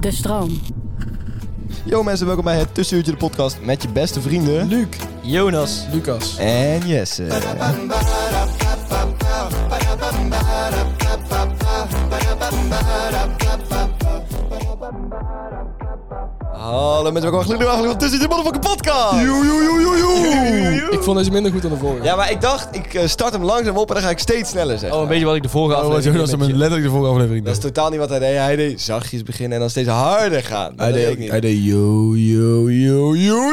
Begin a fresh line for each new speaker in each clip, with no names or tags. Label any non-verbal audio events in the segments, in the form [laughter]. De stroom.
Yo mensen, welkom bij het Tussenuurtje de podcast met je beste vrienden... Luc, Jonas
Lucas.
en Jesse. Hallo mensen, welkom bij een nieuwe aflevering van Tussenuurtje de motherfucking podcast!
Ik vond deze minder goed dan de vorige.
Ja, maar ik dacht, ik eh, start hem langzaam op en dan ga ik steeds sneller zeggen.
Oh, een beetje wat ik de vorige
Oh, was
aflevering
Jonas hem
met je-
letterlijk de vorige aflevering.
Dat is totaal niet wat hij deed. Hij deed zachtjes beginnen en dan steeds harder gaan. Dat
hij
deed
deed
ik niet.
Hij deed yo, yo, yo, yo, yo, yo,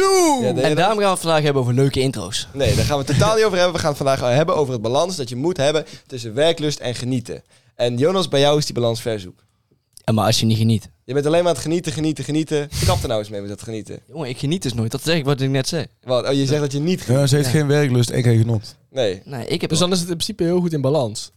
yo.
Ja, deed je
En
dat?
daarom gaan we het vandaag hebben over leuke intro's.
Nee, daar gaan we het totaal niet over hebben. We gaan het vandaag hebben over het balans dat je moet hebben tussen werklust en genieten. En Jonas, bij jou is die balans verzoek.
En maar als je niet geniet.
Je bent alleen maar aan het genieten, genieten, genieten. Kap er nou eens mee met dat genieten.
Jongen, ik geniet dus nooit. Dat zeg ik wat ik net zei.
Wat? Oh, je zegt dat je niet geniet.
Ja, ze heeft geen werklust en geen genot.
Nee.
Nee, ik heb
Dus
wel-
dan is het in principe heel goed in balans.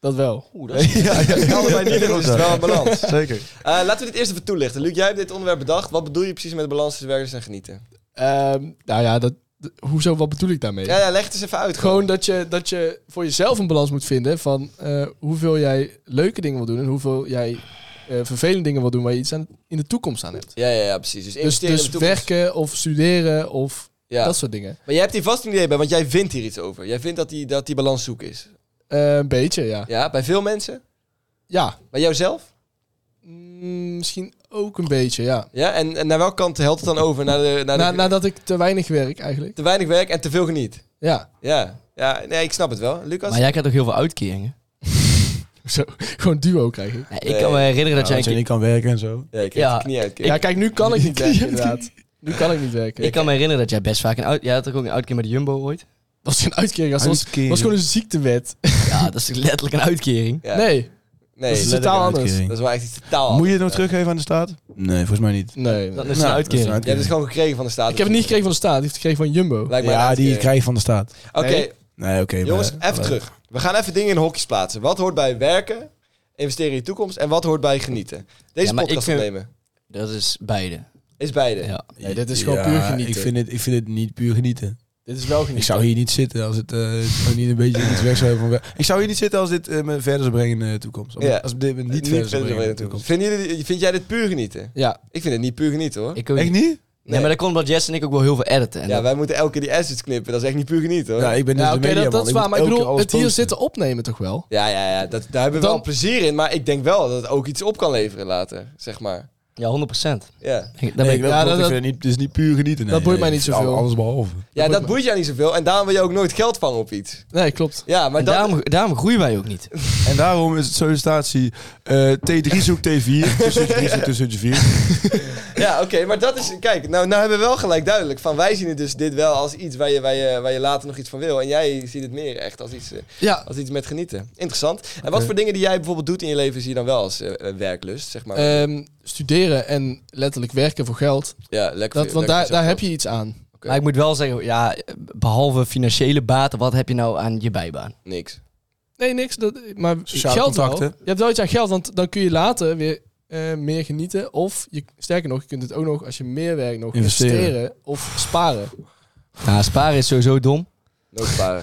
Dat wel.
Oeh, dat is...
Ja, ja, allebei niet, dus het is wel een balans. Eh,
Zeker.
laten we dit eerst even toelichten. Luc, jij hebt dit onderwerp bedacht. Wat bedoel je precies met balans tussen werklust en genieten?
Ehm, nou ja, dat, d- hoezo, wat bedoel ik daarmee?
Ja, ja, leg het eens even uit.
Gewoon dat je, dat je voor jezelf een balans moet vinden van eh, hoeveel jij leuke dingen wil doen en hoeveel jij eh, vervelende dingen wil doen waar je iets aan, in de toekomst aan hebt.
Ja, ja, ja, precies. Dus
Dus,
investeren
dus
in de toekomst.
werken of studeren of
Ja.
dat soort dingen.
Maar jij hebt hier vast een idee bij, want jij vindt hier iets over. Jij vindt dat die, dat die balans zoek is.
Eh, een beetje, ja.
Ja, bij veel mensen.
Ja,
Bij jouzelf?
Mm, misschien ook een beetje, ja.
Ja, en, en naar welke kant helpt het dan over? Naar de, naar de-
Na, nadat ik te weinig werk eigenlijk.
Te weinig werk en te veel geniet.
Ja, [laughs]
Ja. ja, nee, ik snap het wel. Lucas?
Maar jij krijgt ook heel veel uitkeringen.
zo, gewoon duo krijg ik.
Nee, ik
Nee.
kan me herinneren dat
Ja,
jij...
als je
een
niet
keer-
kan werken en zo.
Ja, ik heb
Ja,
het niet uitkeken.
[laughs] Ja, kijk, nu kan ik niet werken inderdaad. Nu kan ik niet werken.
Ik kan me herinneren dat jij best vaak een uit... Jij had toch ook een uitkering bij de Jumbo ooit?
Dat was een uitkering. Dat was,
Uitkering.
was gewoon een ziektewet.
Ja, dat is letterlijk een uitkering.
Ja.
Nee,
nee,
dat is
dat
totaal anders.
uitkering.
is wel echt iets totaal
Moet je het nog
anders.
teruggeven aan de staat? Nee, volgens mij niet.
Nee.
Dat
nee.
is een
Nou,
uitkering.
dat is
Je hebt het gewoon gekregen van de staat.
Ik heb het niet gekregen van de staat. Ik heb het gekregen van Jumbo.
Lijkt mij een
Ja, die
uitkering.
krijg je van de staat.
Oké,
Nee.
Nee, oké. maar-
jongens, even terug. We gaan even dingen in hokjes plaatsen. Wat hoort bij werken, investeren in je toekomst en wat hoort bij genieten? Deze
Ja, maar ik
podcast
vind-
opnemen
Dat is beide.
is beide.
Ja.
Nee, dit is gewoon puur genieten.
Ik vind, het, ik vind het niet puur genieten.
Dit is wel genieten.
Ik zou hier niet zitten als het eh, nog niet een beetje iets weg zou hebben van wer- Ik zou hier niet zitten als dit eh, me verder zou brengen in de toekomst. Om-
Ja.
Als het dit me niet,
Niet verder
verder zou
dan
brengen
in de toekomst. Vind, jullie, vind jij dit puur genieten?
Ja.
Ik vind het niet puur genieten hoor.
Ik ook
Echt
niet.
niet?
Nee, maar dat komt omdat Jess en ik ook wel heel veel editen. En
Ja,
dat-
wij moeten elke keer die assets knippen. Dat is echt niet puur genieten hoor.
Ja, ik ben dus
Ja,
de
oké,
media,
dat, dat is waar. Maar ik bedoel, het hier
zitten.
zitten opnemen toch wel?
Ja, ja, ja dat, daar hebben we
Dan-
wel plezier in. Maar ik denk wel dat het ook iets op kan leveren later, zeg maar.
Ja, 100 procent.
Ja,
ben
Nee,
ik...
ik,
Ja,
ja,
dat-
dat, ik vind het niet, het is niet puur genieten. nee.
dat boeit mij
Nee,
niet
het is
zoveel.
Alles behalve.
ja dat
me.
boeit jou niet zoveel. En daarom wil je ook nooit geld vangen op iets.
Nee, klopt.
Ja, maar
En
dan...
daarom, daarom groeien wij ook niet.
En daarom is het sollicitatie eh, T3 zoekt [laughs] T4. Tussen 3 zoekt tussen 4.
Ja, oké, maar dat is... Kijk, nou, nou hebben we wel gelijk duidelijk. Van, wij zien het dus dit wel als iets waar je, waar, je, waar je later nog iets van wil. En jij ziet het meer echt als iets, eh,
Ja.
als iets met genieten. Interessant. En wat voor dingen die jij bijvoorbeeld doet in je leven... zie je dan wel als eh, eh, werklust, zeg maar?
ehm, studeren en letterlijk werken voor geld.
ja, lekker.
Dat, want daar, daar heb je iets aan.
Maar ik moet wel zeggen, ja, behalve financiële baten, wat heb je nou aan je bijbaan?
Niks.
Nee, niks. Dat, maar
Sociale
geld wel.
contacten.
Je hebt wel iets aan geld, want dan kun je later weer eh, meer genieten. Of, je, sterker nog, je kunt het ook nog, als je meer werkt, nog
Investeren.
investeren of sparen.
Nou, sparen is sowieso dom.
Nooit sparen.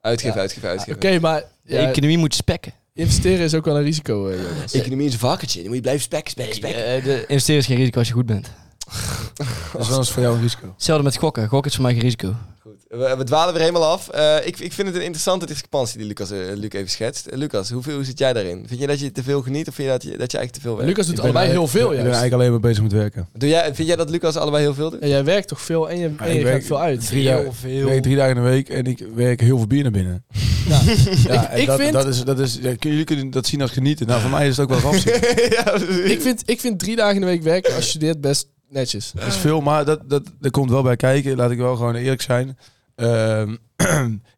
Uitgeven, uitgeven, uitgeven.
Oké, maar
De
ja,
economie moet spekken.
investeren is ook wel een risico. eh, Jonas.
Economie is een vakkertje. Dan moet je blijven spekken, spekken, spekken.
Eh, de investeren is geen risico als je goed bent.
Dat is wel eens voor jou een risico.
Hetzelfde met gokken. Gokken is voor mij geen risico.
We, we dwalen weer helemaal af. Eh, ik, ik vind het een interessante discrepantie die Lucas, eh, Luc even schetst. Eh, Lucas, hoeveel, hoe zit jij daarin? Vind je dat je te veel geniet of vind je dat je, dat je eigenlijk te veel werkt?
Lucas doet
Ik ben
allebei heel
eigenlijk-
veel
Ik ben
juist.
eigenlijk alleen maar bezig met werken.
Doe jij, vind jij dat Lucas allebei heel veel doet?
Ja, jij werkt toch veel en je, en
ik
je
werk
gaat veel uit.
Drie dagen,
Heel veel.
Ik werk drie dagen in de week en ik werk heel veel bier naar binnen. [laughs] Ja. en
ik
dat,
vind-
Dat is, dat is, ja, kun- jullie kunnen dat zien als genieten. Nou, voor mij is het ook wel
[laughs]
rafzien.
[laughs] ja, precies.
Ik vind, ik vind drie dagen in de week werken als je studeert best
[laughs]
netjes.
Dat is veel, maar dat, dat, dat komt wel bij kijken. Laat ik wel gewoon eerlijk zijn. Ehm, [clears throat]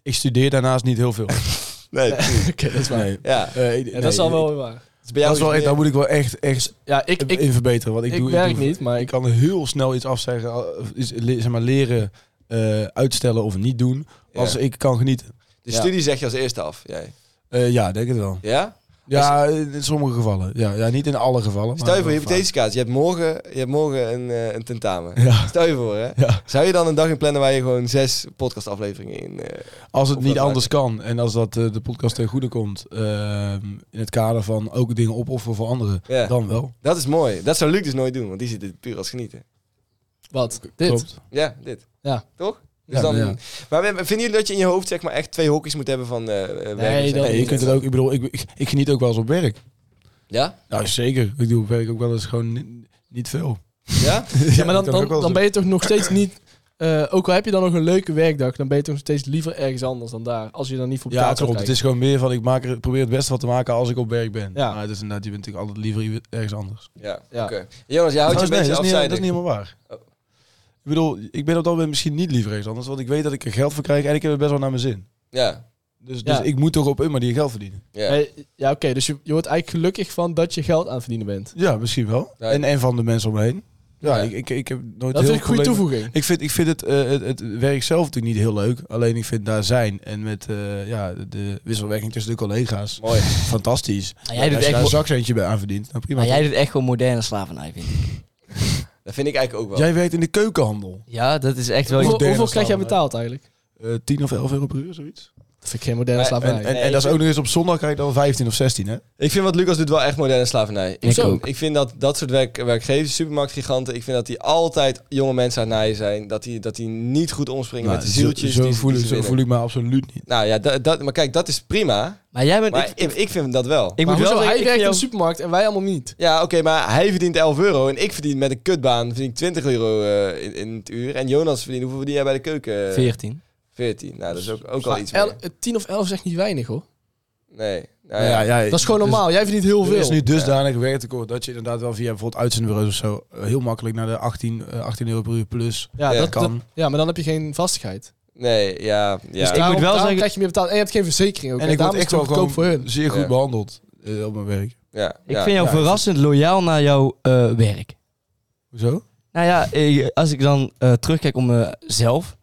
ik studeer daarnaast niet heel veel.
Nee, precies.
Oké, dat is waar.
Nee.
Ja,
Eh, ik-
Ja, dat
nee,
is al
ik-
wel waar.
dat is bij jou
Dat is wel
iets
echt, daar
meer-
moet ik wel echt, echt
Ja, ik, ik, ik,
in verbeteren. Want ik, doe,
werk
ik doe-
niet, maar
Ik
ik,
kan heel snel iets afzeggen. al- of iets, le- zeg maar, leren eh, uitstellen of niet doen. Als
Ja.
ik kan genieten.
De
Ja.
studie zeg je als eerste af. Jij.
Eh, ja, denk het wel.
Ja?
Ja, eh, in sommige gevallen. Ja, ja niet in alle gevallen.
Stel je
maar
voor, je
wel
hypothetische kaart. Je hebt morgen, je hebt morgen een, eh, een tentamen.
vaak. Ja,
Stel je voor, hè?
Ja.
Zou je dan een dag in plannen waar je gewoon zes podcastafleveringen in... eh,
als het
Of
niet
dat
anders kan en als dat eh, de podcast ten goede komt, ehm, in het kader van ook dingen opofferen voor anderen,
Ja.
dan wel.
Dat is mooi. Dat zou Luc dus nooit doen, want die zit het puur als genieten.
wat? Dit?
Klopt.
Ja, dit.
Ja.
Toch? Dus
Ja,
dan,
ja.
Maar we- vinden jullie dat je in je hoofd zeg maar echt twee hokjes moet hebben van eh eh, werkers en
dat
Nee, je
niet.
kunt het ook, ik bedoel, ik, ik, ik geniet ook wel eens op werk.
Ja?
Nou, zeker. Ik doe op werk ook wel eens gewoon ni- niet veel. [laughs]
Ja?
Ja, maar dan,
dat kan
dan,
ik wel
dan
zo.
ben je toch nog
[laughs]
steeds niet... eh, ook al heb je dan nog een leuke werkdag, dan ben je toch nog steeds liever ergens anders dan daar. Als je dan niet voor
Ja,
betaald
klopt.
wordt.
Het is gewoon meer van, ik maak er, probeer het beste van te maken als ik op werk ben.
Ja.
Maar het is inderdaad, je bent natuurlijk altijd liever iemand- ergens anders.
Ja,
Ja.
oké. Jonas, jij houdt je een
Trouwens,
beetje
Oh, nee, dat, is niet, dat
afzijdig.
is niet helemaal waar.
Oh.
Ik bedoel, ik ben op dat moment misschien niet liever ergens anders, want ik weet dat ik er geld voor krijg en ik heb het best wel naar mijn zin.
Ja,
Dus, dus
Ja.
ik moet toch op een manier geld verdienen.
ja.
Hey, ja, oké. dus je, je wordt eigenlijk gelukkig van dat je geld aan het verdienen bent.
Ja, misschien wel.
Ja.
En, en van de mensen omheen. Ja,
Ja.
Ik, ik, ik heb nooit
Dat
heel
vind ik een goede
problemen-
toevoeging.
Ik vind, ik vind het, eh, het, het werk zelf natuurlijk niet heel leuk. Alleen ik vind daar zijn en met eh, ja, de wisselwerking tussen de collega's
Mooi.
fantastisch.
Maar jij doet
Als je
echt
daar een
mo-
zakcentje bij aan verdient, dan prima.
Maar jij doet echt gewoon moderne slavernij, vind ik.
Dat vind ik eigenlijk ook wel.
Jij werkt in de keukenhandel.
Ja, dat is echt wel...
Hoeveel,
moderne
hoeveel krijg jij
slavernij.
betaald eigenlijk?
Eh 10 of 11 euro per uur, zoiets.
Dat vind ik geen moderne
Maar-
En,
slavernij.
en,
Nee,
en
ik
dat is
vind-
ook nog eens op zondag krijg je dan 15 of 16, hè?
Ik vind wat Lucas doet wel echt moderne slavernij.
Ik
Zo.
ook.
Ik vind dat dat soort werk, werkgevers, supermarktgiganten, ik vind dat die altijd jonge mensen aan het naaien zijn. Dat die, dat die niet goed omspringen
Nou,
met de zieltjes.
Zo, zo
die, ze-
voel,
die
ik-
ze
zo
winnen.
voel ik me absoluut niet.
Nou ja, dat, dat, maar kijk, dat is prima.
Maar jij bent...
Maar
ik,
ik, ik vind dat wel.
ik
maar
moet wel
hoezo?
zeggen,
hij
ik vind
werkt in
jou-
de supermarkt en wij allemaal niet.
Ja, oké, maar hij verdient 11 euro en ik verdien met een kutbaan verdien ik 20 euro eh, in, in het uur. En Jonas verdient, hoeveel verdien jij bij de keuken?
14.
14. Nou, dat is ook, ook al
Maar
iets
el-
meer.
eh, 10 of 11 is echt niet weinig hoor.
Nee. Nou,
Nou
ja.
ja,
Dat is gewoon normaal. Jij verdient heel
Er is
veel.
nu dusdanig werktekort dat je inderdaad wel via bijvoorbeeld uitzendbureaus of zo eh, heel makkelijk naar de 18, eh, 18 euro per uur plus
ja,
Ja,
dat
kan.
dat- ja, maar dan heb je geen vastigheid. Dus
Nee, ja. ja.
Dus
ik- moet wel
daarom
zeggen-
krijg je meer betaald. En je hebt geen verzekering ook.
en ik word
daarom
echt
is
wel
het goedkoop
gewoon
voor hun.
zeer goed
Ja.
behandeld eh, op mijn werk.
ja,
Ik
ja.
vind jou
ja,
verrassend loyaal naar jouw eh, werk.
Hoezo?
Nou ja, eh, als ik dan eh, terugkijk om mezelf.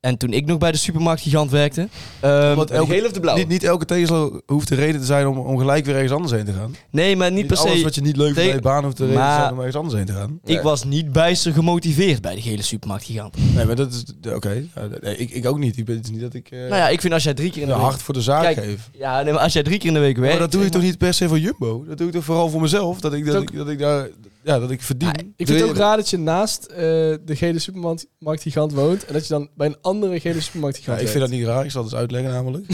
En toen ik nog bij de supermarktgigant werkte. ehm,
Want
De gele of
Oh.
de blauwe?
Niet, niet elke tegenslag hoeft de reden te zijn om, om gelijk weer ergens anders heen te gaan.
nee, maar niet,
Niet
per se.
alles wat je niet leuk vindt bij je
Tegen-
baan hoeft de reden
Maar-
te zijn om ergens anders heen te gaan.
Nee.
Ik was niet bijster gemotiveerd bij de gele supermarktgigant.
Nee, maar dat is... Oké. Ja, nee, ik, ik ook niet. Ik ben, het is niet dat ik eh,
Nou ja, ik vind als jij drie keer in de week...
hard voor de zaak
Kijk,
geef.
Ja, nee, maar als jij drie keer in de week werkt...
Maar dat doe ik
zeg
toch niet per se voor Jumbo? Dat doe ik toch vooral voor mezelf? Dat ik, dat
Ook-
ik, dat ik, daar, ja, dat ik verdien.
Ik
Doe
vind
je-
het ook raar dat je naast eh, de gele supermarktgigant woont. En dat je dan bij een andere gele
Ja,
supermarktgigant
ik vind dat
werkt.
niet raar. Ik zal het eens uitleggen namelijk.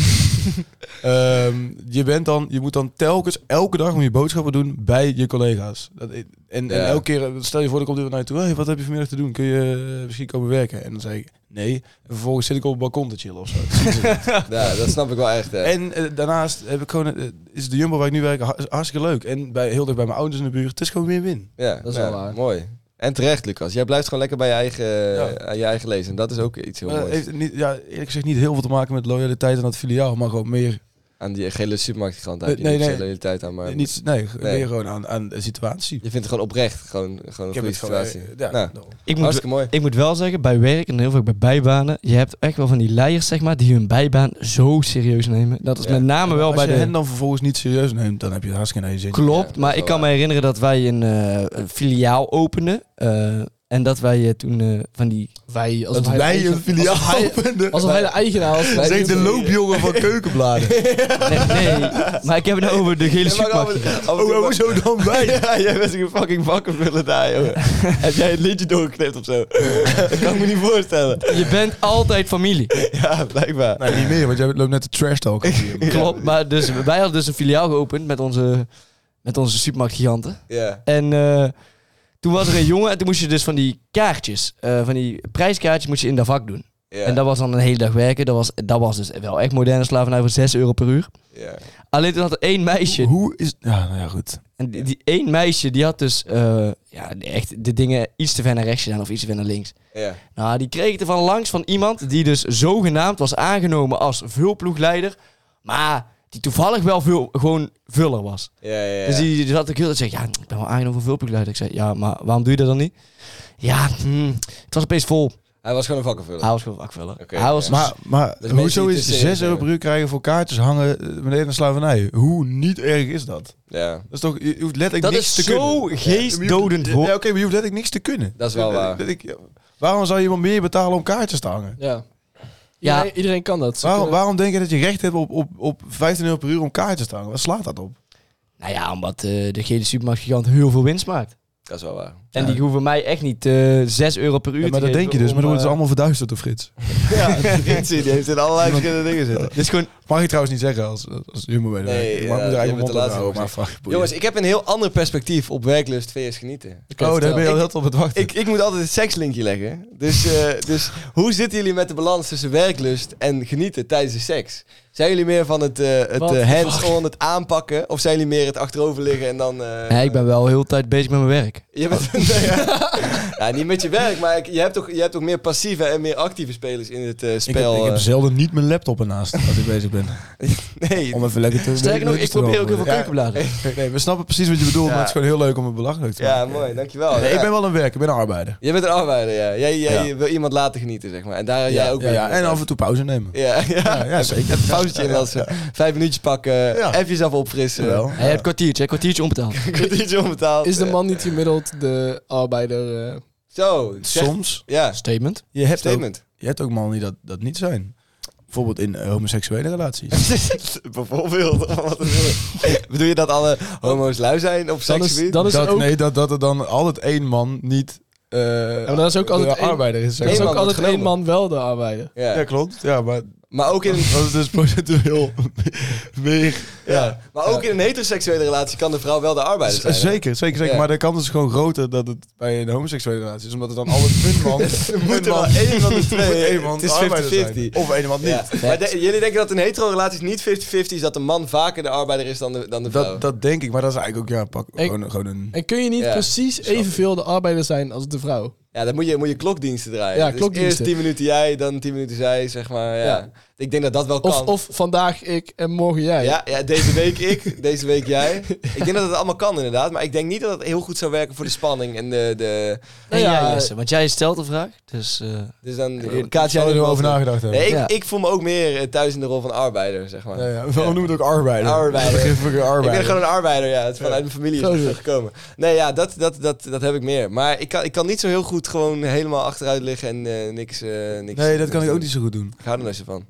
Ehm, je, bent dan, je moet dan telkens elke dag om je boodschappen doen bij je collega's. Dat, en, en
Ja.
elke keer, eh, stel je voor, er komt iemand naar je toe. Hey, wat heb je vanmiddag te doen? Kun je eh, misschien komen werken? En dan zeg ik nee. En vervolgens zit ik op het balkon te chillen of zo. Dat zien ze niet.
Ja, dat snap ik wel echt. hè.
en eh, daarnaast heb ik gewoon, eh, is de Jumbo waar ik nu werk ha- hartstikke leuk. En bij, heel dicht bij mijn ouders in de buurt. Het is gewoon win-win.
Ja,
Dat is
ja,
wel waar.
Mooi. En terecht, Lucas. Jij blijft gewoon lekker bij je eigen, eh,
Ja.
aan je eigen lezen. Dat is ook iets heel
Maar dat
moois.
Eh, heeft niet, ja, eerlijk gezegd niet heel veel te maken met loyaliteit aan dat filiaal, maar gewoon meer...
Aan die gele supermarktgigant heb
Nee,
je
nee,
niet
nee.
zo'n loyaliteit aan, maar
niet, nee,
nee.
meer gewoon aan, aan de situatie.
je vindt het gewoon oprecht. Gewoon, gewoon een goede situatie.
eh, ja,
Nou,
nou.
maar, ik, moet,
hartstikke mooi.
ik moet wel zeggen, bij werk en heel vaak bij bijbanen... Je hebt echt wel van die leiders, zeg maar, die hun bijbaan zo serieus nemen. Dat is
Ja.
met name wel
als
bij
je
de...
hen dan vervolgens niet serieus neemt, dan heb je het hartstikke naar je zin.
Ja,
Klopt,
dat
maar
is
ik
wel
kan me herinneren dat wij een, eh, een filiaal openden. eh, En dat wij eh, toen eh, van die...
Wij, als
Dat wij een eh, filiaal openden.
Als hij de eigenaar was.
Zeg de
[laughs]
loopjongen van Keukenbladen.
Nee, nee, maar ik heb het nou over de gele
Ja, maar
supermarkt.
over- over-
Oh, hoezo dan
[laughs]
wij?
Ja, jij bent een fucking vakkenvullen daar, joh. [laughs] Heb jij het lintje doorgeknipt of zo? [laughs] dat kan ik me niet voorstellen.
Je bent altijd familie.
Ja, blijkbaar.
Nee, niet meer, want jij loopt net de trash talk.
[laughs] Klopt, maar dus, wij hadden dus een filiaal geopend met onze, met onze supermarktgiganten.
Ja.
En eh, toen was er een jongen en toen moest je dus van die kaartjes, eh, van die prijskaartjes moest je in dat vak doen.
ja.
En dat was dan een hele dag werken. Dat was, dat was dus wel echt moderne slavernij voor 6 euro per uur.
ja.
Alleen toen had er één meisje.
Hoe is... Ja, nou ja, goed.
Dus-
En die, die één meisje die had dus eh, ja, echt de dingen iets te ver naar rechts gedaan of iets te ver naar links.
ja.
Nou, die kreeg het er van langs van iemand die dus zogenaamd was aangenomen als vulploegleider. Maar die toevallig wel vul, gewoon vuller was.
Ja, ja, ja.
Dus die, die zat ik heel zei, ja, ik ben wel aangenomen voor vulploegleider. Ik zei, ja, maar waarom doe je dat dan niet? Ja, hmm, het was opeens vol.
Hij was gewoon een vakkenvuller.
Hij was gewoon vakvuller.
Oké,
Hij was
Maar, maar
Dus
hoezo
mensen die
is
tussen-
6 euro per uur krijgen voor kaartjes hangen eh, beneden de slavernij? Hoe niet erg is dat?
Ja,
Dat is toch... Je je hoeft letterlijk
Dat
niks
is
te kunnen.
zo geestdodend.
Ja,
hoor.
Oké, maar je hoeft letterlijk niks te kunnen.
Dat is wel waar.
Letterlijk- Waarom zou je iemand meer betalen om kaartjes te hangen?
Ja.
Ja.
Iedereen, iedereen kan dat. Ze
Waarom,
kunnen-
waarom denk je dat je recht hebt op, op, op 15 euro per uur om kaartjes te hangen? Wat slaat dat op?
Nou ja, omdat eh, de gele supermarktgigant heel veel winst maakt.
dat is wel waar.
En die hoeven mij echt niet eh 6 euro per uur
Ja, maar
te
dat
geven
denk je dus, maar
om,
dan wordt het
eh,
allemaal verduisterd door Frits.
Ja, die heeft in allerlei verschillende dingen zitten.
Dit is gewoon...
Mag je trouwens niet zeggen als, als humor bij de
Nee, ja,
werk. Ik mag me er
je bent
eigenlijk mijn mond
de
op
laatste
houden, maar
gezegd.
fuck, boeien.
Jongens, ik heb een heel ander perspectief op werklust VS genieten.
Oh, daar ben je al
Ik-
heel veel op het wachten.
Ik, ik moet altijd het sekslinkje leggen. Dus, eh, dus hoe zitten jullie met de balans tussen werklust en genieten tijdens de seks? Zijn jullie meer van het, eh, het
Wat
eh,
de
hands-on, het aanpakken? Of zijn jullie meer het achterover liggen en dan... eh,
Nee, ik ben wel heel de tijd bezig met mijn werk.
Je bent, [laughs] Nee, ja. Ja, niet met je werk, maar ik- je, hebt toch, je hebt toch meer passieve en meer actieve spelers in het eh,
Ik heb,
spel.
ik heb
eh.
zelden niet mijn laptop ernaast als ik bezig ben.
nee,
Om even lekker te
Sterker nog, ik
leukjes te
probeer ook heel
roken.
veel keukenbladen.
Ja, Nee, we snappen precies wat je bedoelt,
Ja.
maar het is gewoon heel leuk om het belachelijk te
ja,
maken.
mooi, dankjewel.
Nee,
Oh, Ja.
ik ben wel een werker, ik ben een arbeider.
Je bent een arbeider, ja. Jij, jij
Ja.
wil iemand laten genieten, zeg maar. En daar jij ook
ja,
mee.
ja, en af en toe pauze nemen.
Ja, ja.
Ja, ja, zeker.
Even een pauzetje in als eh, Vijf minuutjes pakken, even jezelf opfrissen.
Wel.
Hij heeft kwartiertje, hè, kwartiertje onbetaald.
[laughs] Een kwartiertje onbetaald.
Is de man niet gemiddeld de arbeider? eh?
Zo. ik zeg-
Soms,
Ja,
Statement.
je hebt, ook,
[laughs] statement.
je hebt ook mannen die dat, dat niet zijn. Bijvoorbeeld in eh, homoseksuele
[laughs]
relaties.
Bijvoorbeeld. om wat te noemen. Bedoel je dat alle homo's lui zijn op
Dan is,
seksgebied?
dan is
dat,
er ook,
Nee, dat, dat er dan altijd één man niet eh
maar dat is ook altijd
de
één-
arbeider is. zeg
er is
één
ook
maar.
man wordt
altijd één
genomen.
man wel de arbeider.
Ja.
Ja, klopt. Ja, maar
Maar ook in een...
dat is dus [laughs] procentueel meer.
Ja. Maar ook in een heteroseksuele relatie kan de vrouw wel de arbeider zijn. hè?
Zeker, zeker, zeker.
Ja.
Maar de kans is gewoon groter dat het bij een homoseksuele relatie is. Omdat het dan
[laughs]
altijd een man... een
moet er wel
man- [laughs]
één van de
moet
twee-
één man
het is
arbeider zijn.
50-50.
Of één man niet.
Ja. Maar de- jullie denken dat in hetero-relaties niet 50-50 is dat de man vaker de arbeider is dan de, dan de vrouw?
Dat, dat denk ik, maar dat is eigenlijk ook... Ja, pak
Ik-
gewoon, gewoon een...
En kun je niet
Ja,
precies evenveel de arbeider zijn als de vrouw?
Ja, dan moet je, moet je klokdiensten draaien.
Ja,
Dus eerst
klokdiensten.
10 minuten jij, dan 10 minuten zij, zeg maar. Ja.
Ja.
Ik denk dat dat wel kan.
Of, of vandaag ik en morgen jij.
Ja, ja, deze week
[laughs]
ik, deze week jij. Ik denk dat het allemaal kan inderdaad, maar ik denk niet dat het heel goed zou werken voor de spanning en de... de
En
Nou ja,
jij, Jesse, want jij stelt de vraag. Dus eh,
dus dan
ik
kaat jij
Zou je er wel
wel
over nagedacht hebben?
Nee, ik,
Ja.
ik voel me ook meer eh, thuis in de rol van arbeider, zeg maar.
Ja, ja. Waarom noemen we het ook arbeider?
Arbeider.
Dat begrip ik een arbeider.
Ik ben gewoon een arbeider, ja. Het is vanuit mijn familie is dat gekomen. Nee, ja, dat, dat, dat, dat heb ik meer. Maar ik kan, ik kan niet zo heel goed gewoon helemaal achteruit liggen en eh, niks, eh, niks...
Nee, dat
niks
kan ik
doen.
ook niet zo goed doen.
Ik hou er nooit zo van.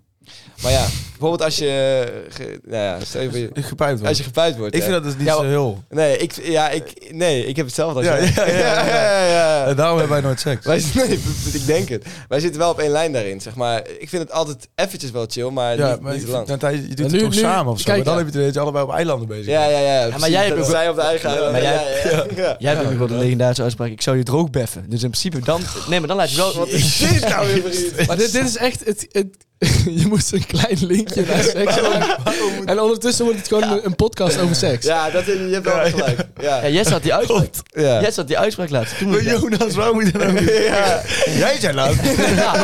Maar ja, bijvoorbeeld als je... eh, ge- nou ja, stel je voor je-
Ik gepijpt
als je gepuit wordt.
Ik
ja.
vind dat dus niet
Ja,
zo heel...
Nee, ik, ja, ik, nee, ik heb hetzelfde als
Ja,
jij.
ja, ja, ja.
[laughs] ja, ja.
En Eh, daarom hebben wij nooit seks.
Wij, nee, [laughs] ik denk het. Wij zitten wel op één lijn daarin, zeg maar. Ik vind het altijd eventjes wel chill, maar
Ja,
niet,
maar
niet te
je-
lang.
dan tijd- je doet het
nu-
toch
nu-
samen of zo.
kijk,
maar dan
ja.
heb je het ineens allebei op eilanden bezig. [laughs]
Ja, ja, ja. precies.
jij hebt
Dat
ook-
zij op de eigen eiland.
maar jij-
ja, ja,
[laughs]
ja.
jij hebt ook wel de legendarische uitspraak. Ik zou je droog beffen. Dus in principe dan... Nee, maar dan laat je wel...
[laughs] Wat is dit nou weer voor iets?
Maar dit, dit is echt... Het, het- [laughs] je moet een klein linkje
[laughs]
naar seks maken. En ondertussen wordt het gewoon een- een podcast over seks.
Ja, dat, je hebt wel gelijk. Ja.
Ja, Jesse had die uitspraak.
Ja.
Jesse had die uitspraak laatst. Toen moest ik-
Jonas, waarom moet
[laughs]
je dat nou doen?
Ja.
Jij zei nou-
[laughs]
laat.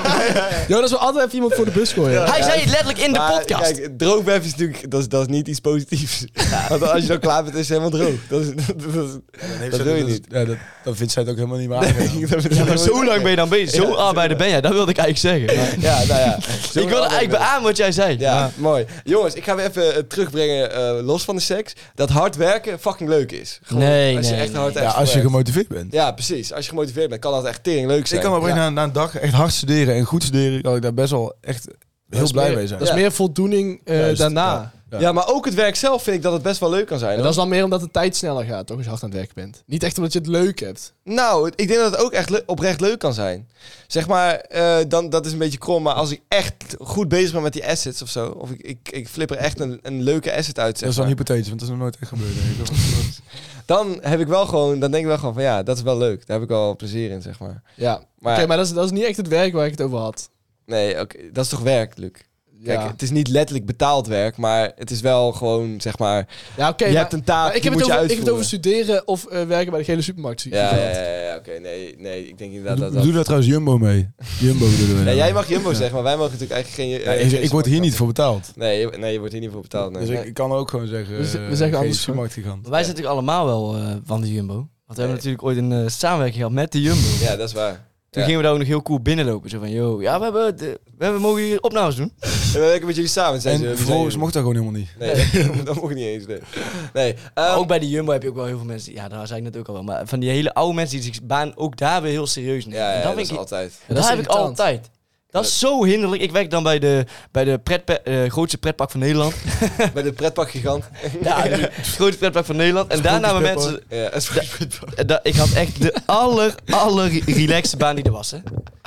Jonas wil altijd even iemand voor de bus gooien.
Hij zei het letterlijk in de
Maar
podcast.
Kijk, droogbeffen is natuurlijk dat is, dat is niet iets positiefs. [laughs] Want als je dan klaar bent, is het helemaal droog. Dat, is, dat, is- dat wil je niet. [laughs]
Ja, dat, dat vindt zij het ook helemaal niet meer aangedaan.
Dat-
Ja, maar zo lang ben je dan bezig. Zo arbeider ben jij. Dat wilde ik eigenlijk zeggen. Maar-
Ja, nou ja. Zo
Ik wilde eigenlijk beamen wat jij zei.
Ja, mooi. Jongens, ik ga weer even eh, terugbrengen, eh, los van de seks, dat hard werken fucking leuk is.
Nee,
als je
nee,
echt hard
Ja,
hebt
als je
gewerkt.
gemotiveerd bent.
Ja, precies. Als je gemotiveerd bent, kan dat echt tering leuk
Ik
zijn.
kan maar brengen
Ja.
na, na een dag echt hard studeren en goed studeren, kan ik daar best wel echt heel
is
blij
meer-
mee zijn.
Dat is
Ja.
meer voldoening eh,
Juist,
daarna.
ja.
Ja. maar ook het werk zelf vind ik dat het best wel leuk kan zijn.
En dat
hoor.
is dan meer omdat de tijd sneller gaat, toch? Als je hard aan het werk bent. Niet echt omdat je het leuk hebt.
Nou, ik denk dat het ook echt le- oprecht leuk kan zijn. Zeg maar, eh, dan, dat is een beetje krom, maar als ik echt goed bezig ben met die assets of zo, of ik, ik, ik flip er echt een, een leuke asset uit,
Dat
zeg
is dan
maar,
hypothetisch, want dat is nog nooit echt gebeurd. denk ik.
[laughs]
dan heb ik wel gewoon, dan denk ik wel gewoon van ja, dat is wel leuk. Daar heb ik wel plezier in, zeg maar.
Ja. Oké,
Maar
maar dat is, dat is niet echt het werk waar ik het over had.
nee, oké, dat is toch werk, Luc? Kijk,
Ja,
het is niet letterlijk betaald werk, maar het is wel gewoon, zeg maar,
ja oké.
je
maar-
hebt een taak,
maar ik, heb
die
het
moet
over,
je
ik heb het over
uitvoeren.
studeren of eh, werken bij de gele supermarkt.
Ja, ja, ja, ja, ja, oké, nee, nee, ik denk inderdaad
Doe,
dat dat...
doe daar trouwens Jumbo mee. Jumbo bedoelen we.
[laughs] Nee,
nou.
jij mag Jumbo zeggen, maar wij mogen natuurlijk eigenlijk geen...
Ja,
eh,
ik,
geen
ik word hier niet
smaak-
voor betaald.
Nee, je- nee, je wordt hier niet voor betaald. nee.
Dus ik, ik kan ook gewoon zeggen,
We z- we
eh,
zeggen
geen
anders
supermarkt gigant.
Maar wij zijn natuurlijk allemaal wel eh, van de Jumbo. Want we hebben natuurlijk ooit een eh, samenwerking gehad met de Jumbo.
Ja, dat is waar.
Toen
Ja.
gingen we daar ook nog heel cool binnenlopen. Zo van, yo, ja, we, hebben de- we hebben, mogen hier opnames doen.
En we werken met jullie samen. zeiden ze,
En
we
vervolgens
zijn
mocht dat gewoon
[laughs]
helemaal niet.
jullie. Nee, dat mocht niet eens. Nee. nee
Maar
ehm,
Oh,
ook bij de Jumbo heb je ook wel heel veel mensen... Ja, daar zei ik net ook al wel. Maar van die hele oude mensen die zich baan ook daar weer heel serieus nemen.
ja,
En
ja,
dat
dat
vind
is
ik,
altijd.
dat
Dat is
heb ik
irritant.
altijd. Dat is zo hinderlijk. Ik werk dan bij de, bij de pretpa- eh, grootste pretpark van
[laughs]
Nederland.
Bij de pretparkgigant.
ja, de grootste pretpark van Nederland. En daar namen
pretpark.
mensen...
Ja, dat is [laughs]
Eh, da- ik had echt de aller, aller relaxte baan die er was, hè.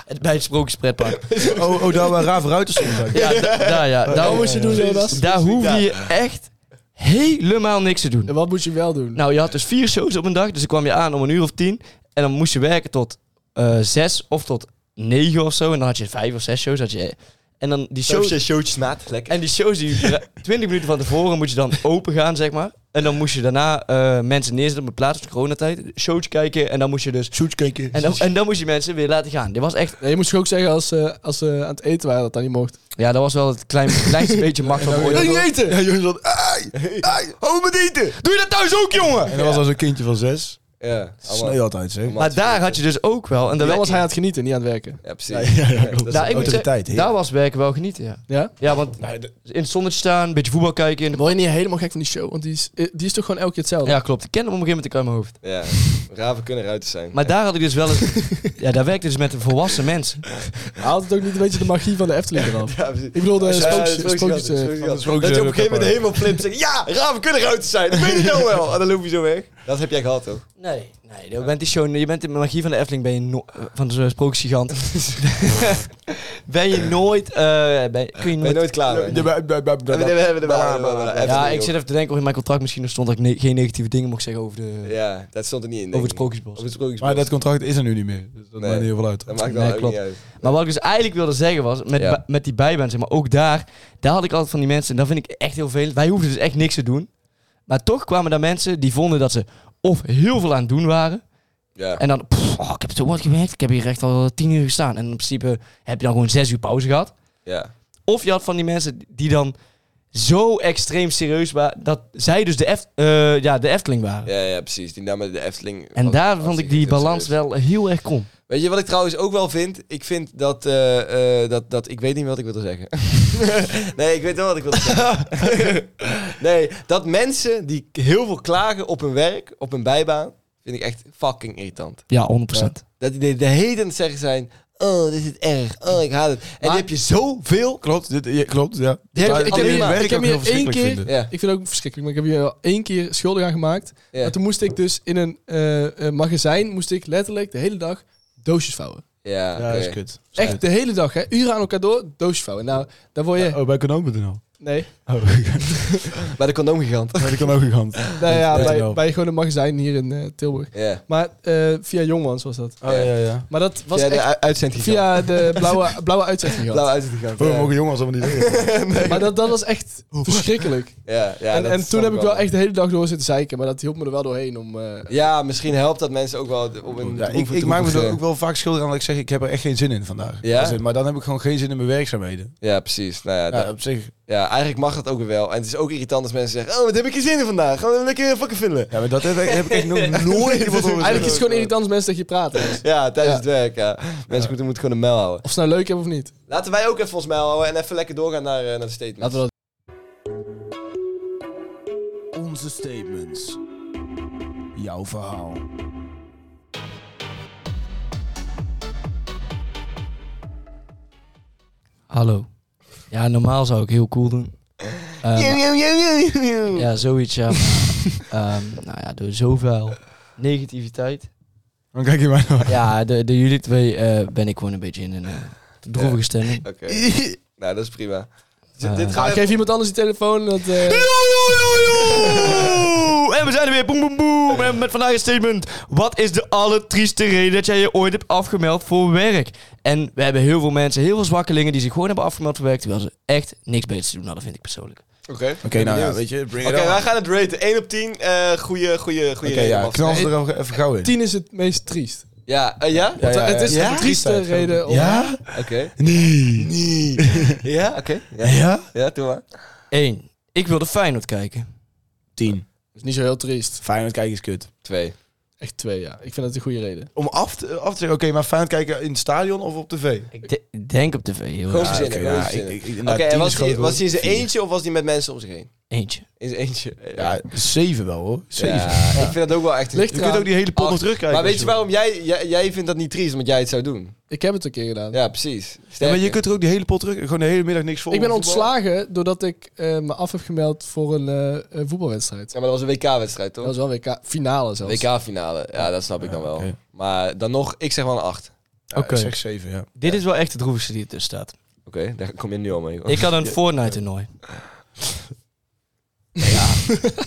Het- Bij het Sprookjespretpark.
Oh, oh daar waar Raaf Ruiters stond. eigenlijk.
Ja, da- daar, ja. Daar,
Wat moest je doen, Jonas?
daar hoefde je echt helemaal niks te doen.
En wat moet je wel doen?
Nou, je had dus vier shows op een dag, dus dan kwam je aan om een uur of tien. En dan moest je werken tot eh, zes of tot negen of zo. En dan had je vijf of zes shows. Had je, en dan die shows...
showtjes, maat. Lekker.
En die shows die ra- 20 minuten van tevoren moet je dan open gaan, zeg maar. En dan moest je daarna eh, mensen neerzetten op een plaats op coronatijd. Shows kijken en dan moest je dus...
Shoot kijken.
En dan, en dan moest je mensen weer laten gaan. Dit was echt...
Nee, je moest ook zeggen als, eh, als ze aan het eten waren dat dat niet mocht.
Ja, dat was wel het klein, [laughs] kleinste beetje macht van
Ja,
Oh,
ooit.
jongens, dat- Ja, jongens, dat...
[laughs]
Ai, ai, hou me eten!
Doe je dat thuis ook, jongen?
En dat was als een kindje van zes.
Ja, allemaal.
Sneu altijd, zeg.
Maar daar had je dus ook wel... En daar
Dan
werd-
was hij aan het genieten, niet aan het werken.
Ja, precies.
Ja, ja,
Nee,
ja, klopt.
dat is
daar, ik moet
autoriteit,
zeggen,
heerlijk.
daar was werken wel genieten, ja.
Ja?
Ja, want in het zonnetje staan, een beetje voetbal kijken. In de...
Word je niet helemaal gek van die show? Want die is, eh, die is toch gewoon elke keer hetzelfde?
Ja, klopt. Ik ken hem op een gegeven moment uit mijn hoofd.
Ja, raven kunnen ruiters zijn.
Maar daar had ik dus wel een... [laughs] Ja, daar werkte dus met een volwassen mens.
Haalt het ook niet een beetje de magie van de [laughs] Efteling eraf?
Ja, precies.
Ik bedoel, de
Als je-
sprookjes-
ja, de
sprookjes, eh,
sprookjes-
van de
Dat je op een gegeven moment
sprookjes-
helemaal flipt en zegt... Ja, raven kunnen ruiters zijn. Dat weet ik nou wel. En dan loop je zo weg. Dat heb jij gehad, toch?
Nee, nee. Je bent, die show, je bent in de magie van de Efteling, ben je no- eh, van de [laughs] sprookjesgigant. ben je nooit... eh, ben, kun je
Ben je
nooit...
nooit klaar mee?
Ja, bij- bij- bij-
We
bij-
hebben- we hebben er wel- we hebben er wel-
Ja, ik zit even te denken of in mijn contract misschien nog stond dat ik ne- geen negatieve dingen mocht zeggen over, de,
Ja, dat stond er niet in.
over
denk ik.
het Sprookjesbos.
Op het sprookjesbos.
Maar dat contract is er nu niet meer. Dus dat
Nee.
maakt niet heel veel uit.
Dat maakt
Nee,
wel ook
klopt.
niet uit.
Maar wat ik dus eigenlijk wilde zeggen was, met,
Ja.
ba- met die bijbaan, zeg maar, ook daar, daar had ik altijd van die mensen, en dat vind ik echt heel veel. Wij hoefden dus echt niks te doen. Maar toch kwamen daar mensen die vonden dat ze of heel veel aan het doen waren,
Ja.
en dan, pff, oh, ik heb zo wat gewerkt, ik heb hier echt al tien uur gestaan. En in principe heb je dan gewoon zes uur pauze gehad.
Ja.
Of je had van die mensen die dan zo extreem serieus waren, dat zij dus de, Eft- eh, ja, de Efteling waren.
Ja, ja, precies. Die namen de Efteling.
En
was-
daar
was
vond ik die
niet heel
balans
serieus.
wel heel erg kom.
Weet je wat ik trouwens ook wel vind? Ik vind dat. eh, eh, dat, dat ik weet niet meer wat ik wilde zeggen. [laughs] nee, ik weet wel wat ik wilde zeggen. nee, dat mensen die heel veel klagen op hun werk, op hun bijbaan, vind ik echt fucking irritant.
Ja, 100%.
Dat die de, de hele tijd aan het zeggen zijn. Oh, dit is erg. Oh, ik haat het. En die heb je zoveel.
Klopt, dit, ja, klopt, ja.
heb-
Maar
ik heb
alleen
hier-
werk
ik heb
ook
hier
heel
één
verschrikkelijk
keer-
vinden.
Ja.
Ik vind het ook verschrikkelijk, maar ik heb hier al één keer schuldig aan gemaakt.
Ja.
Maar toen moest ik dus in een eh, eh, magazijn, moest ik letterlijk de hele dag doosjes vouwen. Dus
Ja,
Ja, dat is
oké.
kut.
Echt de hele dag, hè? Uren aan elkaar door, doosjes vouwen. Nou, daar word je...
Ja, Oh, bij Konoon.nl.
Nee.
Oh, [laughs]
Bij de condoomgigant.
bij de [laughs] Konoon-gigant.
Nou ja,
Ja.
bij, bij gewoon een magazijn hier in eh, Tilburg.
Ja.
Maar eh, via Jongmans was dat.
Oh, ja, ja.
Maar dat was
Via de
echt
u- uitzendgigant.
via de blauwe, blauwe uitzetting. gehad.
Blauw uitzendgigant.
Oh, we
ja.
mogen jongens allemaal [laughs] niet weten.
Maar dat, dat was echt verschrikkelijk.
Ja, ja,
en
dat
en
snap
toen heb ik wel
man.
echt de hele dag door zitten zeiken, maar dat hielp me er wel doorheen om... eh,
Ja, misschien helpt dat mensen ook wel om een
Ja, ik, ik maak me er ook wel vaak schuldig aan dat ik zeg, ik heb er echt geen zin in vandaag.
Ja?
Dat is het. Maar dan heb ik gewoon geen zin in mijn werkzaamheden.
Ja, precies. Nou ja,
Ja,
dat-
op zich.
ja, eigenlijk mag mag dat ook weer wel. En het is ook irritant als mensen zeggen... Oh, wat heb ik je zin in vandaag? Gaan we lekker fucking vullen.
Ja, maar dat heb, ik- heb ik echt [laughs] nog nooit iemand horen
Eigenlijk is
zeggen.
het gewoon irritant als mensen dat je praten.
Ja, tijdens
Ja.
het werk, ja. Mensen moeten, moeten gewoon een mijl houden.
Of ze nou leuk hebben of niet.
Laten wij ook even ons mijl houden en even lekker doorgaan naar, eh, naar de statement.
Laten we dat.
Onze statements. Jouw verhaal.
Hallo. Ja, normaal zou ik heel cool doen. Eh, Ja, zoiets, [laughs] ja. Maar, ehm, nou ja, door zoveel negativiteit.
Dan kijk je mij nou aan.
Ja, de, de jullie twee eh, ben ik gewoon een beetje in een eh, droevige stemming.
Oké. [laughs] nou, dat is prima. Z-
Eh,
dit
Ah,
nou,
gaan we...
geef iemand anders die telefoon. Dat, eh,
En we zijn er weer, boem boem boem. En met vandaag een statement. Wat is de allertrieste reden dat jij je ooit hebt afgemeld voor werk? En we hebben heel veel mensen, heel veel zwakkelingen die zich gewoon hebben afgemeld voor werk. Terwijl ze echt niks beters te doen hadden, vind ik persoonlijk.
Oké,
Oké, nou ja, weet je, bring it
Oké,
on.
wij gaan het raten. 1 op 10. eh goeie, goeie, goeie
Oké,
reden,
ja,
man.
knal ze er even, even gauw in.
10 is het meest triest.
Ja, eh, ja?
Ja, ja,
het is
ja.
de trieste reden. Om,
Ja?
Oké.
Nee.
[laughs] ja, oké. Ja.
Ja?
ja, doe maar.
1. Ik wilde Feyenoord kijken.
Tien.
is niet zo heel triest.
Feyenoord kijken is kut.
Twee.
Echt twee, ja. Ik vind dat een goede reden.
Om af te, af te zeggen, oké, maar Feyenoord kijken in het stadion of op tv?
Ik de- denk op tv, heel
Gewoon
erg.
verzinnen.
oké,
gewoon
ja,
verzinnen.
ik- ik- ik-
Oké,
nou,
en
tien
was
is
die,
groot,
was die in zijn
hoor. Vier.
eentje of was die met mensen om zich heen?
Eentje.
In zijn eentje.
Ja, zeven wel hoor. Zeven.
Ja, ik vind dat ook wel echt...
Ligt
Je kunt ook die hele pot nog terugkijken.
Maar weet
als
je waarom jij, jij, jij vindt dat niet triest? Omdat jij het zou doen.
Ik heb het een keer gedaan.
Ja, precies. Sterker.
Ja, maar je kunt er ook die hele pot terug, gewoon de hele middag niks voor.
Ik ben ontslagen doordat ik eh, me af heb gemeld voor een eh, eh, voetbalwedstrijd.
Ja, maar dat was een WK-wedstrijd, toch?
Dat was wel een WK finale zelfs.
WK-finale. Ja, dat snap ik dan wel.
oké.
Maar dan nog, ik zeg wel een 8.
Oké.
Oké.
Ik zeg zeven, ja.
Dit is wel echt het droevigste die er tussen staat.
Oké, daar kom je nu al mee.
Ik had een Fortnite-toernooi.
Ja,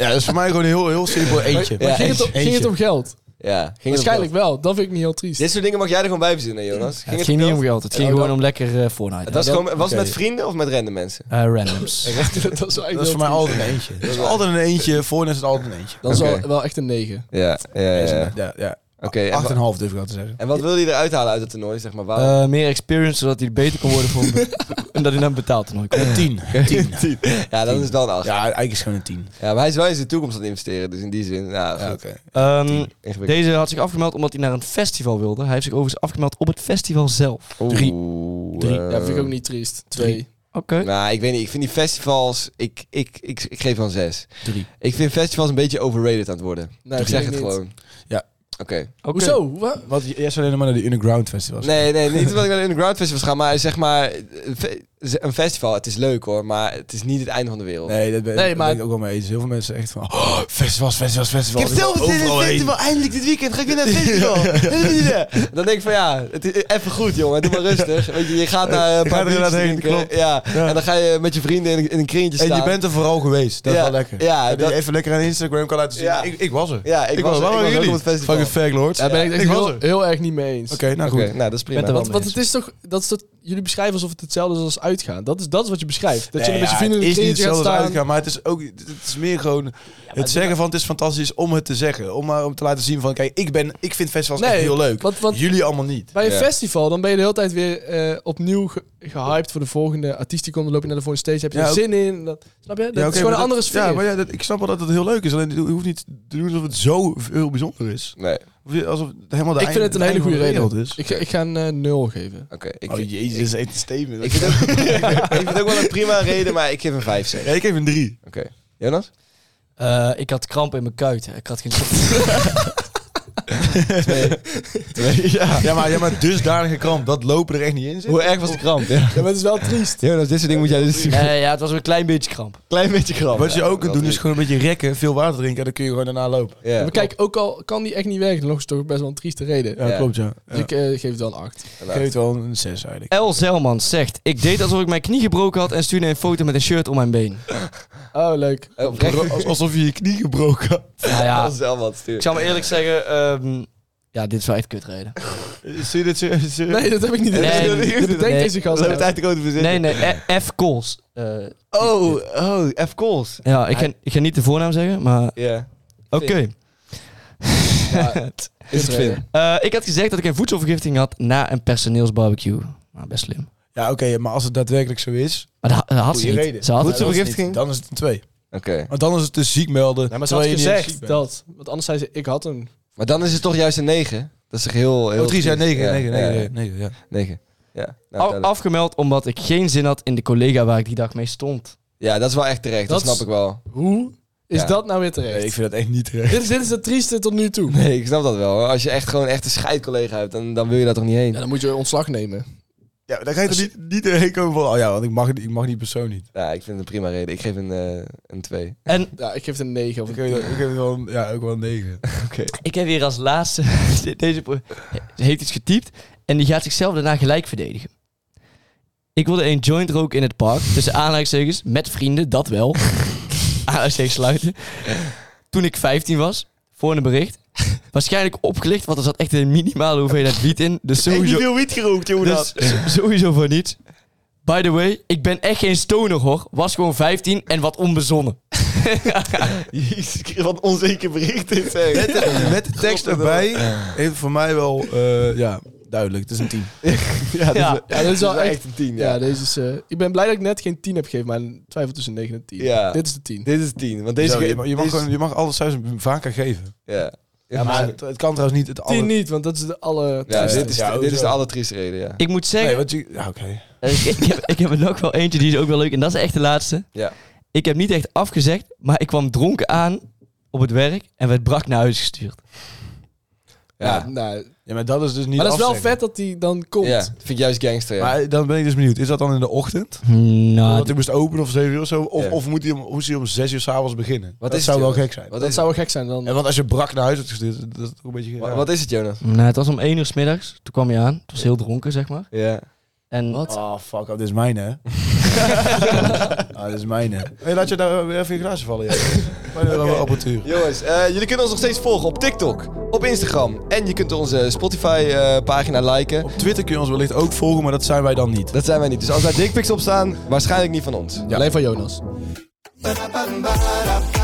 dat is voor mij gewoon een heel, heel simpel eentje.
Maar ging, het om, ging het om geld?
Ja, ging het om
Waarschijnlijk
geld?
wel. Dat vind ik niet heel triest.
Dit soort dingen mag jij er gewoon bij verzinnen, Jonas.
het ging
om
niet
geld?
om geld, het ging
Oh,
gewoon
dat-
om lekker eh, Fortnite.
Het was,
Ja, dat-
gewoon, was het met
oké.
vrienden of met random mensen?
eh,
[laughs]
randoms.
dat is wel echt
Dat is
heel
voor mij
triest.
altijd een eentje. Dat is altijd een eentje. Voor is het altijd een eentje. Dus, eh,
Dat is
Oké.
wel, wel echt een 9.
Ja, ja, ja. ja.
Ja, ja.
Oké, en wa-
Acht en een half durf ik al te zeggen.
En wat wilde je eruit halen uit het toernooi, zeg maar? Waarom?
Eh, meer experience, zodat hij beter kon worden voor een
[laughs]
be- En dat hij dan betaald toernooi kon.
Een [laughs] tien. Tien.
ja, dan is het wel een 8. Ja.
Ja, eigenlijk is het gewoon een tien.
maar hij is wel in zijn toekomst aan het investeren, dus in die zin, ja, goed.
Ja,
Ehm,
Ingewikkeld.
deze had zich afgemeld omdat hij naar een festival wilde. Hij heeft zich overigens afgemeld op het festival zelf.
Drie.
Oeh,
Drie.
eh,
Ja, vind ik ook niet triest. 2.
Oké.
Nou, ik weet niet. Ik vind die festivals... Ik, ik, ik, ik geef van zes.
Drie.
Ik vind festivals een beetje overrated aan het worden.
Nee,
ik
vind
zeg
ik
het
niet.
gewoon.
Ja.
Oké.
Oké.
Hoezo? Wa-
Wat, jij zou alleen maar naar de Underground Festivals.
Nee, nee,
[laughs]
niet omdat ik naar de underground festivals ga, maar zeg maar... eh, fe- Een festival, het is leuk hoor, maar het is niet het einde van de wereld.
Nee, dat ben,
Nee,
daar
maar-
ben ik ook wel mee eens. Heel veel mensen echt van... Oh, festivals, festivals,
Ik heb
festivals. Oh,
zelf zin in het
Overal heen.
festival. Eindelijk dit weekend ga ik weer
[laughs]
naar het festival. Dan denk ik van ja, het is even goed jongen. Doe maar rustig. Weet je, je gaat naar een
Je
paar
gaat er
biertjes
inderdaad heen,
drinken. Ja. En dan ga je met je vrienden in, in een kringetje
En
staan.
je bent er vooral geweest. Dat
Ja,
is wel lekker.
ja,
dat je
dat-
even lekker aan Instagram kan laten zien.
Ja.
Ik, ik was er.
Ja, ik, was, er-
Waar
ik
waren
was ook
jullie?
op het festival.
Fucking faglord.
Daar ben ik het
Ik
echt
was
heel,
er.
heel erg niet mee eens.
Oké, nou
Oké,
goed.
nou dat is prima.
Met de
Want,
Wel
want het
mee
is toch, dat is dat, jullie beschrijven alsof het hetzelfde is als uitgaan. Dat is, dat is wat je beschrijft. Dat je een
Nee,
beetje
nou ja,
vrienden in
het
een
is niet
kringetje gaat
hetzelfde
staan.
uitgaan, maar het is ook, het is meer gewoon het zeggen van het is fantastisch om het te zeggen, om maar om te laten zien van kijk, ik ben, ik vind festivals
Nee,
echt heel leuk.
want- want-
Jullie allemaal niet.
Bij een
Ja.
festival, dan ben je de hele tijd weer eh, opnieuw ge- gehyped voor de volgende artiest die komt. Dan loop je naar de volgende stage, heb je
Ja,
er
ook-
zin in. Dat, snap je? Dat
Ja,
is
oké,
gewoon een
maar
andere
dat-
sfeer.
Ja, maar ja, dat, ik snap wel dat het heel leuk is, alleen je hoeft niet te doen alsof het zo heel bijzonder is.
Nee, oké.
Of je- Alsof het helemaal de
ik vind het een hele goede reden.
is.
Ik, ik ga een eh, nul geven.
Ik,
oh jezus, is echt een statement. [laughs]
ik, vind ook, [laughs] ik vind ook wel een prima reden, maar ik geef een 5 zeg.
ja, ik geef een drie.
Oké. Jonas?
Eh, ik had kramp in mijn kuiten. Ik had geen...
[laughs] Ja, maar, ja, maar dusdanige kramp, dat lopen er echt niet in
[laughs]
zit.
Hoe erg was de kramp? Ja.
Ja, maar het is [laughs] wel triest.
Jonas, dit soort dingen moet jij dus een
Eh, ja, het was een klein beetje kramp.
klein beetje kramp.
Wat je
Ja,
ook
dat
kunt doen is gewoon een beetje rekken, veel water drinken en dan kun je gewoon daarna lopen.
Ja,
maar kijk, ook al kan die echt niet werken, dan is het toch best wel een trieste reden.
Ja,
Ja.
klopt ja.
Dus
Ja.
ik eh, geef het wel een 8.
Ik geef het wel een 6 eigenlijk.
El Zelman zegt... Ik deed alsof ik mijn knie gebroken had en stuurde een foto met een shirt om mijn been.
Oh, leuk.
Eh, oprecht,
Alsof je je knie gebroken had.
Nou ja,
dat is wel wat stuur.
ik zal me eerlijk zeggen... ehm, ja, dit is wel echt kutreden.
Zie je dit serieus?
Nee, dat heb ik niet.
Nee,
Nee,
nee,
dat bedenkt
nee.
deze gast.
Loopt uit de code verzinnen.
[laughs] Nee, nee, eh, F. Kools. Eh,
Oh, oh, F. Kools.
ja, ik ga, ik ga niet de voornaam zeggen, maar...
Ja.
Oké.
Is het Finn?
[laughs]
Eh, ik had gezegd dat ik een voedselvergiftiging had na een personeelsbarbecue. Nou, best slim.
Ja, oké, maar als het daadwerkelijk zo is,
Maar dat, dat had ze
Goeie
niet.
reden.
Ze had
Goed
dan is het
vergiftiging?
niet- dan is het een twee.
Oké.
Maar dan is het dus ziek melden.
Ja, maar ze had
terwijl je niet eens ziek
gezegd
bent.
dat. Want anders zei ze, ik had hem.
Maar dan is het toch juist een 9. Dat is toch heel... heel
Oh, drie zijn
triest.
negen,
Ja,
negen,
ja,
negen,
ja,
negen, Oh, negen, ja.
9. Ja, nou,
Af-
duidelijk.
afgemeld omdat ik geen zin had in de collega waar ik die dag mee stond.
ja, dat is wel echt terecht. Dat,
Dat is-
snap ik wel.
Hoe is
Ja.
dat nou weer terecht?
Nee, ik vind dat echt niet terecht.
dit, is, dit is het trieste tot nu toe.
Nee, ik snap dat wel. Als je echt gewoon echt een scheidcollega hebt, dan, dan wil je daar toch niet heen.
Ja, dan moet je ontslag nemen.
Ja, dan ga je er niet, niet doorheen komen van, oh ja, want ik mag, ik mag die persoon niet.
Ja, ik vind het een prima reden. Ik geef een, eh een 2.
En
Ja, ik geef het een 9 of
Ik
een
geef, ik geef wel, een- ja, ook wel een negen.
ik heb hier als laatste... [laughs] de- Deze pro- ze heeft iets getypt en die gaat zichzelf daarna gelijk verdedigen. Ik wilde een joint roken in het park, tussen aanleidingstekens, met vrienden, dat wel. aanleidingstekens sluiten. Toen ik 15 was, voor een bericht. Waarschijnlijk opgelicht, want er zat echt een minimale hoeveelheid wiet in. Dus sowieso...
wiet gerookt, jongen.
Dus s- sowieso voor niets. By the way, ik ben echt geen stoner hoor. Was gewoon 15 en wat onbezonnen.
Jezus, wat onzeker bericht dit
Met de, met de tekst
God,
erbij heeft voor mij wel, eh, ja, duidelijk. Het is [laughs] een tien.
Ja,
Ja.
dat is, ja, dat is wel
echt-
echt een 10.
Ja,
Ja.
deze is, eh, ik ben blij dat ik net geen 10 heb gegeven, maar een twijfel tussen 9 en 10.
Ja.
Dit is de 10.
Dit is 10. Want deze...
Deze, je, mag, je, mag
deze-
gewoon, je mag alles thuis vaker geven.
Ja.
Ja, maar het, het kan trouwens niet het
10
alle...
niet, want dat is de alle...
Ja, dit is,
Ja,
dit is de
hoezo?
allertrieste reden, ja.
Ik moet
Nee,
zeggen,
want je... Ja, oké.
Eh, ik, ik heb, ik heb er nog wel eentje die is ook wel leuk. En dat is echt de laatste.
Ja.
Ik heb niet echt afgezegd, maar ik kwam dronken aan op het werk en werd brak naar huis gestuurd.
Ja,
Ja,
nou,
Ja, maar dat is dus niet
maar dat is wel
afzeggen.
vet dat die dan komt.
ja. vind ik juist gangster, ja.
Maar dan ben ik dus benieuwd. Is dat dan in de ochtend?
Nou,
dat hij moest openen of 7 uur of zo? Of,
Ja.
of moet hij om, moest hij om 6 uur s'avonds beginnen?
Wat
dat
is
zou
het,
wel
joh?
gek zijn.
Wat
Dat
is
zou wel gek zijn dan.
Ja, want als je brak naar huis wordt gestuurd, dat is toch een beetje...
Wa-
ja.
Wat is het, Jonas?
nou, het was om 1 uur 's middags. Toen kwam je aan. Het was heel dronken, zeg maar.
[laughs] Ja.
En
Oh, fuck up, dit is mijn hè. ah, dit is mijn hè. Hey, laat je daar weer even in je glazen vallen. Ja. Mijn okay. apparatuur.
Jongens, eh, jullie kunnen ons nog steeds volgen op TikTok, op Instagram. En je kunt onze Spotify-pagina liken.
Op Twitter kun je ons wellicht ook volgen, maar dat zijn wij dan niet.
Dat zijn wij niet. Dus als daar dickpics op staan, waarschijnlijk niet van ons.
Alleen van Jonas.
Ja.